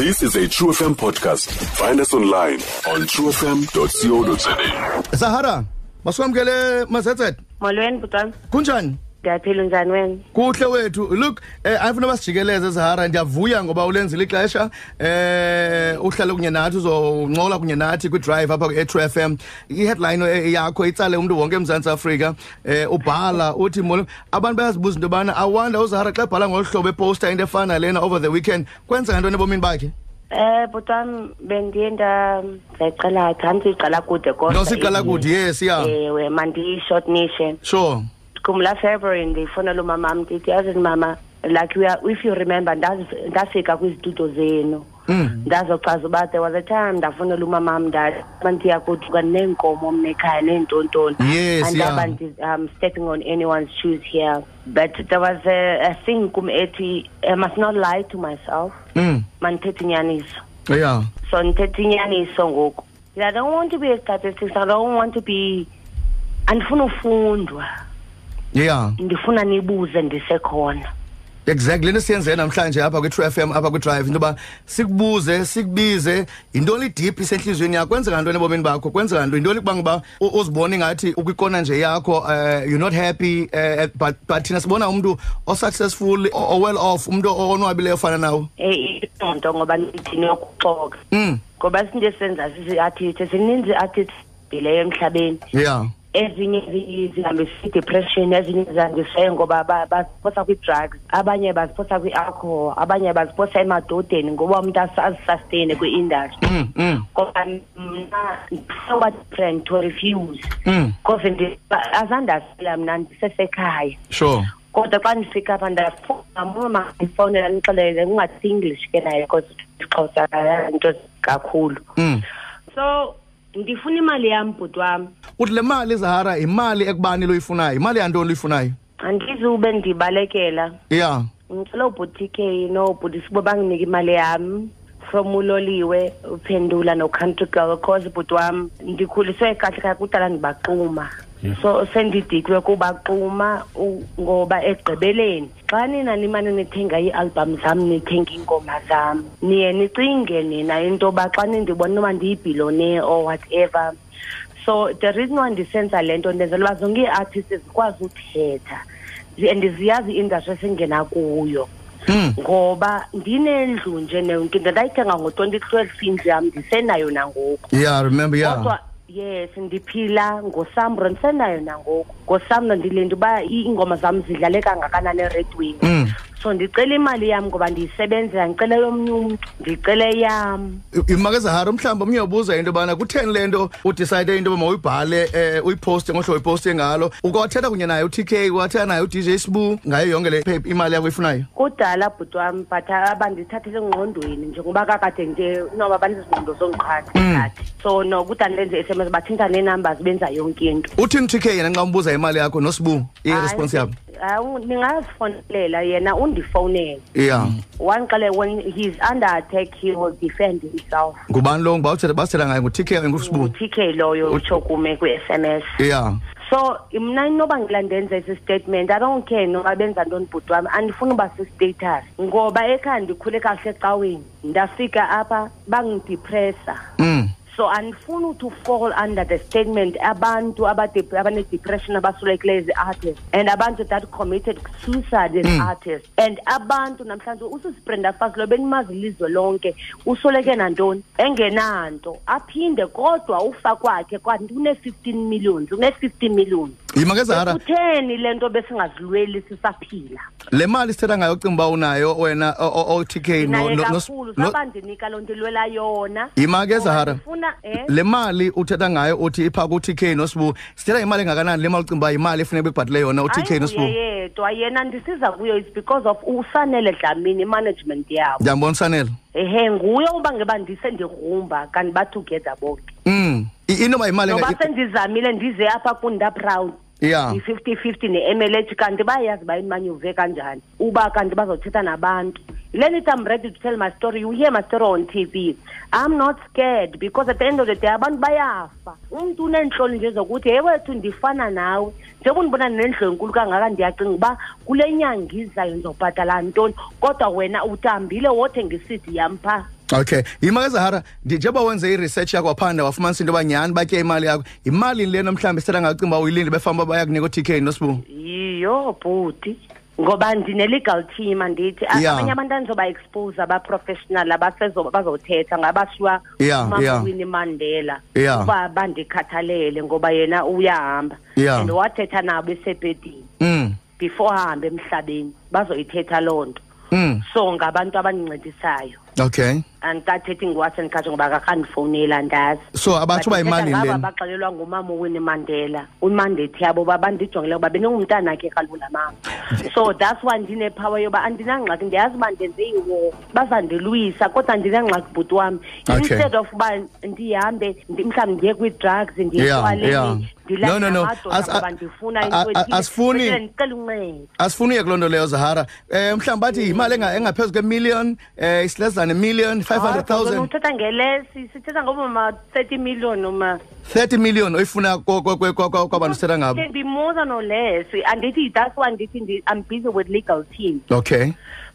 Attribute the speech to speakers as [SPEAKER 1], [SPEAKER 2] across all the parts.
[SPEAKER 1] This is a True FM podcast. Find us online on truefm.co.za.
[SPEAKER 2] sahara masikwamkele mazetset
[SPEAKER 3] molweni butwana
[SPEAKER 2] kunjani
[SPEAKER 3] ndiyaphila unjani wena
[SPEAKER 2] kuhle wethu look eh, ayifuna basijikeleze sahara ndiyavuya ngoba ulenzile ixesha eh uhlale kunye nathi uzoncola kunye nathi kwidrive apha kwi-atro f m i-headline eh, yakho itsale umntu wonke emzantsi afrika eh ubhala uthi molo abantu bayazibuza into yobana awanda uzahara xa ebhala ngolu hlobo eposta into efana lena over the weekend kwenzeka ntoni ebomini bakhe
[SPEAKER 3] um butwana bendiye ndazayiqala ndandisiyiqala kude kodwa
[SPEAKER 2] ndosiqala kude yes ya
[SPEAKER 3] ewe mandiyishortnishe
[SPEAKER 2] sure
[SPEAKER 3] kumla february ndiyifowunela umama m ndithi yazini mama like we are, if you remember ndaz- ndafika kwizitudio zenu
[SPEAKER 2] Mm.
[SPEAKER 3] ndazochaza uba there was a time ndafowunela umamam ndathi uba ndiya kuduka neenkomo mna ekhaya neentontoni
[SPEAKER 2] Yes, yeah.
[SPEAKER 3] andaba um, stepping on anyone's shoes here but there was a, a thing kum ethi i must not lie to myself
[SPEAKER 2] mm
[SPEAKER 3] mandithethe inyaniso
[SPEAKER 2] yeah
[SPEAKER 3] so ndithetha inyaniso ngoku i don't want to be a statistics i don't want to be andifuna ufundwa
[SPEAKER 2] yeah
[SPEAKER 3] ndifuna nibuze ndisekhona
[SPEAKER 2] exactly lento siyenze namhlanje apha kwi-true f m apha kwi-drive into yoba sikubuze sikubize yintoni idiphi isentliziyweni yakho kwenzeka ntoni ebomini bakho kwenzeka nto yintoni kubanga uba u- uzibone ingathi ukwikona nje yakho um you're not happy uh, but, but thina sibona umntu osuccessful o- o-well off umntu onwabileyo ofana nawo
[SPEAKER 3] Eh, iloo nto ngoba ndithini yokuxoka
[SPEAKER 2] mm
[SPEAKER 3] ngoba isinto esenza siziathithi zininzi iathithi bhileyo emhlabeni
[SPEAKER 2] yeah
[SPEAKER 3] ezinye zi- zihambisa idepression ezinye zihambiseyo ngoba ba- baziphosa kwii-drugs abanye baziphosa kwi-alcohol abanye baziphosa emadodeni ngoba umntu as- azisustaine kwi-industry
[SPEAKER 2] mm mm
[SPEAKER 3] ngoba mna ndifuna different to refuse
[SPEAKER 2] mm
[SPEAKER 3] cause ndi- azandasila mna ndisesekhaya
[SPEAKER 2] sure
[SPEAKER 3] kodwa xa ndifika apha ndafuna mama ndifowunela ndixelele kungathi english ke naye cause xhosa into kakhulu
[SPEAKER 2] mm
[SPEAKER 3] so ndifuna imali yam bhuti wam
[SPEAKER 2] uthi le mali zahara yimali ekubani loyifunayo yimali yantoni loyifunayo
[SPEAKER 3] andizube ndibalekela
[SPEAKER 2] yeah
[SPEAKER 3] ngicela ubhutike no bhuti sibo banginike imali yami from uloliwe uphendula no-country girl cause bhuti wam ndikhuliswe kahle kahle kudala ndibaquma so sendidikwe kubaquma u- ngoba egqibeleni xa nina nimane nithenga iialbham zam nithenga iingoma zam niye nicinge nina into yoba xa nindibona noba ndiyibhilone or whatever so the reason why ndisenza le nto ndenzela uba zonke ii-artist zikwazi uthetha Zi- and ziyazi i-industry esingena kuyo
[SPEAKER 2] mm
[SPEAKER 3] ngoba ndinendlu nje nento ndandayithenga ngo-twenty twelve indlu yam ndisenayo nangoku
[SPEAKER 2] yeah remember yeah
[SPEAKER 3] kodwa yes ndiphila ngosamro ndisenayo nangoku ngosamro ndilinde uba i- iingoma zam zidlale kangakanani eredwini
[SPEAKER 2] mm
[SPEAKER 3] so ndicela imali yam ngoba ndiyisebenzela ndicele yomnye umntu ndicele yam
[SPEAKER 2] imake zahara mhlawumbi omnye ubuza into yobana kutheni le nto udicayide into yoba mawuyibhale um uyiposte ngohlobo iposte ngalo ukawathetha kunye naye utk wathetha naye udj sibu ngayo yonke le pep- imali yakho ifunayo
[SPEAKER 3] kudala bhuti wam but abandithathele engqondweni njengoba kakade nje noba banezingqondo zongiqhatha so no kuda ndenze i-s m s bathinta nee-numbers benza yonke into
[SPEAKER 2] uthini utk yena nxa umbuza imali yakho nosibu iresponse yabo
[SPEAKER 3] yabo ningazifonelela yena undifowunele
[SPEAKER 2] ya
[SPEAKER 3] wandixele when he's under attack he will defend himself
[SPEAKER 2] ngubani lo ngoba uthetha- basithetha ngaye ngutk ngusibu
[SPEAKER 3] nguthi ke loyo utsho kume kwi-s m s
[SPEAKER 2] ya
[SPEAKER 3] so mna inoba ngilandenza esi statement i don't care noba benza ntoni bhuti wam andifuni uba sistatus ngoba ekhaya ndikhule kahle ecaweni ndafika apha bangidipressa
[SPEAKER 2] mm
[SPEAKER 3] so andifuni to fall under the statement abantu abade- abanedepression abaswelekileyo ezi-artist and abantu that committed suicide as
[SPEAKER 2] Mm.
[SPEAKER 3] artists and abantu namhlanje ususbrenda fasilo benimazi ilizwe lonke usweleke nantoni engenanto aphinde kodwa ufa kwakhe kwanti une-fifteen millions une-fifty millions
[SPEAKER 2] yimake zahara
[SPEAKER 3] kutheni le nto besingazilweli sisaphila
[SPEAKER 2] le mali sithetha ngayo ucinga uba unayo wena otk
[SPEAKER 3] naye kakhulu sabandinika loo nto ilwela yona
[SPEAKER 2] yimake zahara
[SPEAKER 3] Ufuna, eh?
[SPEAKER 2] le mali uthetha ngayo uthi ipha ku-tk nosibu sithetha imali engakanani le mali ucinga uba yimali efuneka bekubhatile yona u-tk
[SPEAKER 3] Hayi
[SPEAKER 2] nosibu
[SPEAKER 3] nguye yedwa yena ndisiza kuyo is because of usanele dlamini imanagement yabo
[SPEAKER 2] ndiyambona usanele
[SPEAKER 3] ehe nguye uba ngeba ndisendigrumba kanti batogether bonke
[SPEAKER 2] um inoba yimali
[SPEAKER 3] noba
[SPEAKER 2] enga-
[SPEAKER 3] sendizamile ndize apha kundaproud
[SPEAKER 2] ya
[SPEAKER 3] i-fifty fifty ne-mlh kanti bayayazi uba imanyuve kanjani uba kanti bazothetha nabantu leni time ready to tell my story you hear my story on tv i'm not scared because at the end of the day abantu bayafa umntu uneentloni nje zokuthi hey wethu ndifana nawe njengoba ndibona nendlu enkulu kangaka ndiyacinga uba kule nyanga izayo ndizobhatala ntoni kodwa wena utambile wothenga isidi yam phaa
[SPEAKER 2] okay yima ezahara njengoba wenze iresearch yakho waphanda wafumanisa into yoba nyhani batye imali yakho yimali lena mhlawumbi esithatha ngacinga uba uyilinde befamba uba bayakunika otk nosibu
[SPEAKER 3] yiyo bhuti ngoba ndine-legal team andithi A-
[SPEAKER 2] Yeah.
[SPEAKER 3] abanye abantu andizobaexpose abaprofessional abasezo- bazothetha ngabashiwa
[SPEAKER 2] Yeah, yeah.
[SPEAKER 3] umawini mandela
[SPEAKER 2] Yeah.
[SPEAKER 3] uba bandikhathalele ngoba yena uyahamba
[SPEAKER 2] Yeah.
[SPEAKER 3] and wathetha nabo esebhedini
[SPEAKER 2] mm
[SPEAKER 3] before ahambe emhlabeni bazoyithetha loo nto
[SPEAKER 2] mm
[SPEAKER 3] so ngabantu abandincedisayo
[SPEAKER 2] okay
[SPEAKER 3] andikathethi ngiwatsho ndikhatsho ngoba kakandifowuneli andazi
[SPEAKER 2] so abatsho uba yimali
[SPEAKER 3] Bathetha ngabo
[SPEAKER 2] lena
[SPEAKER 3] abaxelelwa ngumama uwini mandela umandethi yabo uba bandijongele uba beningumntana akhe kalula mama so that's why ndinepower yoba andinangxaki ndiyazi uba ndenze iwo bazandilwisa kodwa andinangxaki bhuti wam
[SPEAKER 2] Okay.
[SPEAKER 3] instead of uba ndihambe ndi- mhlawumbi ndiye kwii-drugs
[SPEAKER 2] Yeah, yeah.
[SPEAKER 3] ndiyetwaleni
[SPEAKER 2] No, no, no. As-
[SPEAKER 3] ngoba ndifuna
[SPEAKER 2] a-
[SPEAKER 3] into
[SPEAKER 2] a-
[SPEAKER 3] ethile.
[SPEAKER 2] asifuni-
[SPEAKER 3] Bhetele ndicela uncedo
[SPEAKER 2] asifuni uye kuloo nto leyo zahara um mhlawumbi bathi yimali enga- engaphezu kwemillion um isiless than a million five hundred
[SPEAKER 3] Hayi,
[SPEAKER 2] thousand
[SPEAKER 3] uthetha ngelesi sithetha ngomama 30 million noma
[SPEAKER 2] thirty million oyifuna ko- ko- ko- ko- ko- kwabantu sithetha ngabo
[SPEAKER 3] can be more than or less andithi that's why ndithi ndi- i'm busy with legal team
[SPEAKER 2] okay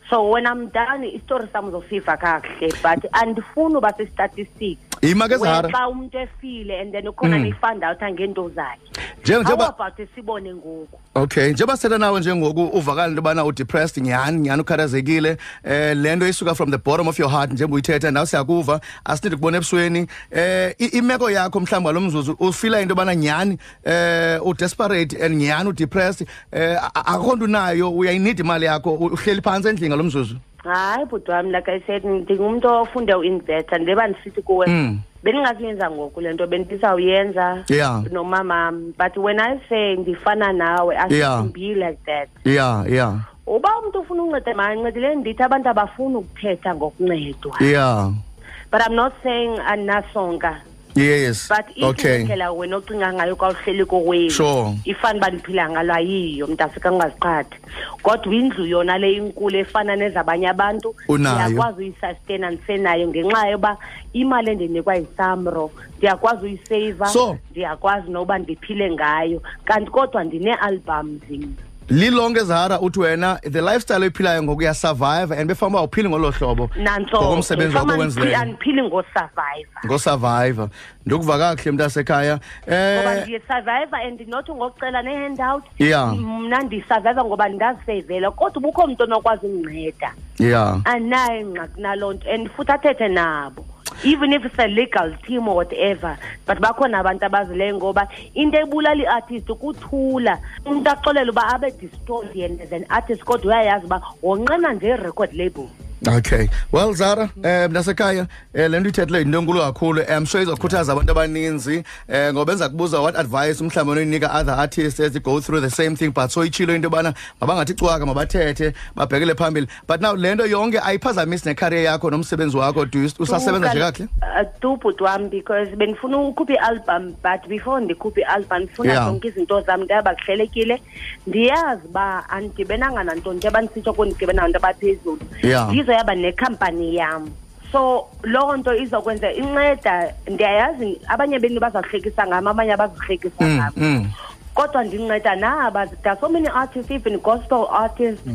[SPEAKER 3] so when i'm done isitori sam zosiva kakuhle but andifuni uba sestatistics
[SPEAKER 2] yima ke Mm. zahara
[SPEAKER 3] xa umntu efile and then ukhona nifanda out angeento zakhe
[SPEAKER 2] Njengo-
[SPEAKER 3] how
[SPEAKER 2] njengoba
[SPEAKER 3] about sibone ngoku
[SPEAKER 2] okay njengoba sithetha nawe njengoku uvakala into yobana udepressed nyhani nyhani ukhathazekile um le nto isuka from the bottom of your heart njengoba uyithetha nawe siyakuva asinidi kubona ebusweni um imeko yakho mhlawumbi ngalo mzuzu ufila into yobana nyhani um udesperate and nyhani udepressed um akho nto unayo uyayinida imali yakho u- uhleli phantsi endlini ngalo mzuzu
[SPEAKER 3] hayi bhuti wam like i said ndingumntu ofunde uinvesta ndileba ndisithi kuwe
[SPEAKER 2] Mm.
[SPEAKER 3] bendingazuyenza ngoku le nto bendisawuyenza
[SPEAKER 2] Yeah.
[SPEAKER 3] nomamam but when i say ndifana nawe I
[SPEAKER 2] Yeah.
[SPEAKER 3] shouldn't be like that
[SPEAKER 2] ya ya
[SPEAKER 3] uba umntu ufuna unceda mandincedile ndithi abantu abafuni ukuthetha ngokuncedwa
[SPEAKER 2] ya
[SPEAKER 3] but i'm not saying andinasonka
[SPEAKER 2] yes
[SPEAKER 3] but
[SPEAKER 2] okay
[SPEAKER 3] indlela wena ocinga ngayo kwawuhleli kowenu
[SPEAKER 2] Sure.
[SPEAKER 3] ifani uba ndiphila ngalo ayiyo mntu afika ungaziqhathi kodwa indlu yona le inkulu efana nezabanye abantu
[SPEAKER 2] Unayo.
[SPEAKER 3] ndiyakwazi uyisustaina ndisenayo ngenxa yoba imali endinikwa yisamro ndiyakwazi uyiseyiva
[SPEAKER 2] So-
[SPEAKER 3] ndiyakwazi noba ndiphile ngayo kanti kodwa ndinee-albums mna
[SPEAKER 2] lilonke zahara uthi wena the lifestyle oyiphilayo ngoku uyasurviva and befanuba awuphili ngolo hlobo ngokomsebenzi wakho wenzileyo
[SPEAKER 3] nantsooandiphili ngosurvayiva
[SPEAKER 2] ngosurviva ndikuva kakuhle mntu asekhaya
[SPEAKER 3] ngoba
[SPEAKER 2] um
[SPEAKER 3] ndiyisurvayiva and not ngokucela ne-handout
[SPEAKER 2] Yeah.
[SPEAKER 3] mna ndiyisurvayiva ngoba ndaziseyivela kodwa ubukho mntu onokwazi undinceda
[SPEAKER 2] ya
[SPEAKER 3] anayo ingxaki naloo nto and futhi athethe nabo even if it's a legal team or whatever but bakhona abantu abazileyo ngoba into ebulala i-artist kuthula umntu axolele uba abe distored yena as an artist kodwa uyayazi uba wonqena nje i-record label
[SPEAKER 2] okay well zara um mntasekhaya um le nto ithethileyo yinto enkulu kakhulu Eh, i'm sure izokhuthaza abantu abaninzi um ngoba benza kubuza what advice umhlawumbi onoyinika other artists as they go through the same thing but soyitshilo into yobana mabangathi cwaka mabathethe babhekele phambili but now le nto yonke ayiphazamisi necareer yakho nomsebenzi wakho Do you- usasebenza nje kakuhle
[SPEAKER 3] tu bhuti wam because bendifuna ukukhupha i-album but before ndikhuphe i-album ndifuna
[SPEAKER 2] Yeah.
[SPEAKER 3] zonke izinto zam ndaba kuhlelekile ndiyazi uba andidibenanga nanto nto abandisitsho kundidibe nanto abaphezulu
[SPEAKER 2] Yeah.
[SPEAKER 3] ndizoyaba nekhampani yam so loo nto izokwenza inceda ndiyayazi abanye benu bazawuhlekisa ngam abanye abazuhlekisa
[SPEAKER 2] Mm,
[SPEAKER 3] ngam
[SPEAKER 2] mm.
[SPEAKER 3] kodwa ndinceda naba there are so many artists even gospel artists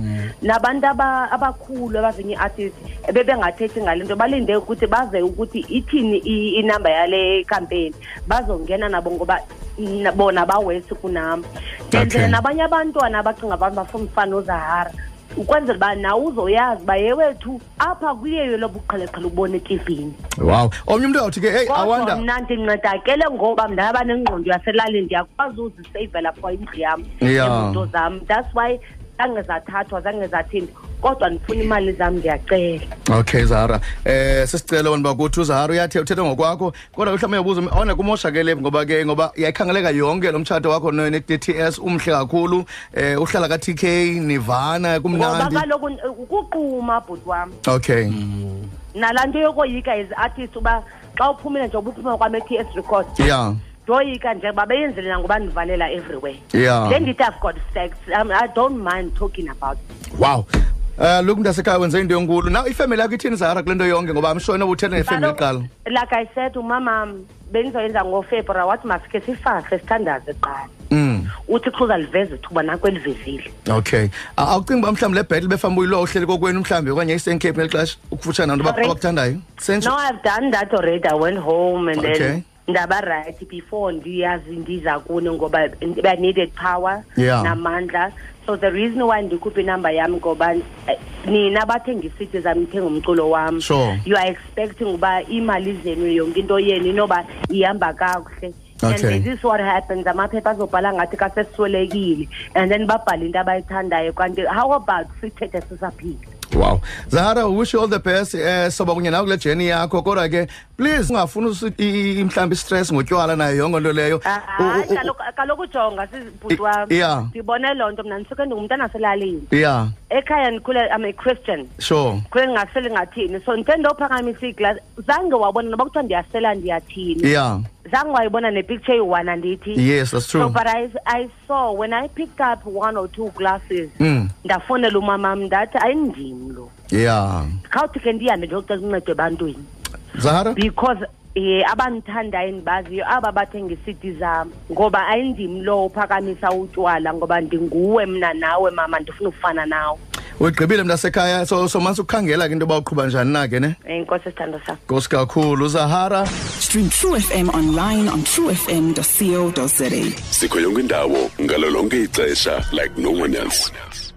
[SPEAKER 3] nabantu aba- abakhulu abazinye i-artists bebengathethi ngale nto balinde ukuthi baze ukuthi ithini i- inamba yale campaign bazongena nabo ngoba n- bona bawesi kunam ndenzele
[SPEAKER 2] Okay.
[SPEAKER 3] nabanye abantwana abacinga abantu bafuna umfana ozahara ukwenzela uba nawe uzoyazi uba ye wethu apha kuyeyo lobuqheleqhele ubona etivini
[SPEAKER 2] wow omnye umntu awuthi ke heyi
[SPEAKER 3] kodwa
[SPEAKER 2] awanda
[SPEAKER 3] mna ndincedakele ngoba mndaba nengqondo yaselalini ndiyakwazi uziseyivela for indlu yam
[SPEAKER 2] Yeah.
[SPEAKER 3] nezinto zam that's why zange zathathwa zange zathini kodwa ndifuna imali zam ndiyacela
[SPEAKER 2] okay zara eh sisicelo wena uba kuthi uzara uyathe uthetha ngokwakho kodwa mhlawumbi uyabuza ona kumoshakele ngoba ke ngoba yayikhangeleka yonke lo mtshato wakho ne-dts umhle kakhulu eh uhlala ka-tk nivana
[SPEAKER 3] ngoba
[SPEAKER 2] kumnandi
[SPEAKER 3] kaloku eh, ukuquma bhuti wam
[SPEAKER 2] okay
[SPEAKER 3] nalaa nto yokoyika as artist uba xa uphumile njengoba uphuma kwam e-t s record
[SPEAKER 2] yeah
[SPEAKER 3] ndoyika njengoba beyenzele nangoba ndivalela everywhere
[SPEAKER 2] Yeah.
[SPEAKER 3] then ndithi i've got sex um, i don't mind talking about it.
[SPEAKER 2] wow um loku mntasekhaya wenze into enkulu naw ifemeli yakho ithini zara kule nto yonke ngoba amshona ubuthetha nefemeli
[SPEAKER 3] Kaloku,
[SPEAKER 2] kuqala
[SPEAKER 3] like i said umama bendizoyenza ngofebruary wathi masikhe sifahle sithandaze qala
[SPEAKER 2] mm
[SPEAKER 3] uthi xa uzaliveza ithuba nakho elivizile
[SPEAKER 2] okay A- awucingi uba mhlawumbi le bhetle befanuba uyilwa uhleli kokwenu mhlawumbi okanye isten cape ngeli xesha ukufutshana nabantu aba-
[SPEAKER 3] Sorry?
[SPEAKER 2] abakuthandayo
[SPEAKER 3] no
[SPEAKER 2] sentsho
[SPEAKER 3] i've done that already i went home and
[SPEAKER 2] Okay.
[SPEAKER 3] then ndaba right before ndiyazi ndiza kuni ngoba i needed power
[SPEAKER 2] Yeah.
[SPEAKER 3] namandla so the reason why ndikhuphe inamba yam ngoba eh, nina bathenga iisiti zam ithenga umculo wam
[SPEAKER 2] Sure.
[SPEAKER 3] you are expecting uba iimali zenu yonke into yenu inoba ihamba kakuhle and
[SPEAKER 2] Okay.
[SPEAKER 3] this is what happens amaphepha azobhala ngathi kaseswelekile and then babhale into abayithandayo kanti how about sithethe sisaphile
[SPEAKER 2] wow zahara we wish you all the best um soba kunye nawo kule jeni yakho kodwa ke please ungafuni usi- i- i- mhlawumbi istress ngotywala nayo yonke nto leyo
[SPEAKER 3] Ah,
[SPEAKER 2] U-
[SPEAKER 3] hayi
[SPEAKER 2] u- u-
[SPEAKER 3] kaloku- kaloku jonga sibhuti wam
[SPEAKER 2] oh, Yeah.
[SPEAKER 3] ndibone loo nto mna ndisuke ndingumntana aselalini
[SPEAKER 2] yeah
[SPEAKER 3] ekhaya ndikhule i'm a christian
[SPEAKER 2] sure
[SPEAKER 3] khule ndingaseli ngathini so ndithe ndophakamisa iglasi zange wabona noba kuthiwa ndiyasela ndiyathini
[SPEAKER 2] yeah
[SPEAKER 3] zange wayibona nepicture eyi-one andithi
[SPEAKER 2] yes that's
[SPEAKER 3] so
[SPEAKER 2] true
[SPEAKER 3] but I, i saw when i picked up one or two glasses
[SPEAKER 2] Mm.
[SPEAKER 3] ndafowunela umamam ndathi ayindim lo
[SPEAKER 2] yeah
[SPEAKER 3] khawuthi ke ndihambe ndiyocela uncedo ebantwini
[SPEAKER 2] zahara
[SPEAKER 3] because um abandithandayo endibaziyo aba bathenga iisidi zam ngoba ayindim lo uphakamisa utywala ngoba ndinguwe mna nawe mama ndifuna ukufana nawe
[SPEAKER 2] ugqibile mntasekhaya so so mase ukukhangela ke into yoba uqhuba njani na ke ne
[SPEAKER 3] enkosi esithando sam
[SPEAKER 2] nkosi kakhulu zahara
[SPEAKER 4] Stream True FM online on truefm.co.za.
[SPEAKER 1] sikho yonke indawo ngalo lonke ixesha like no one else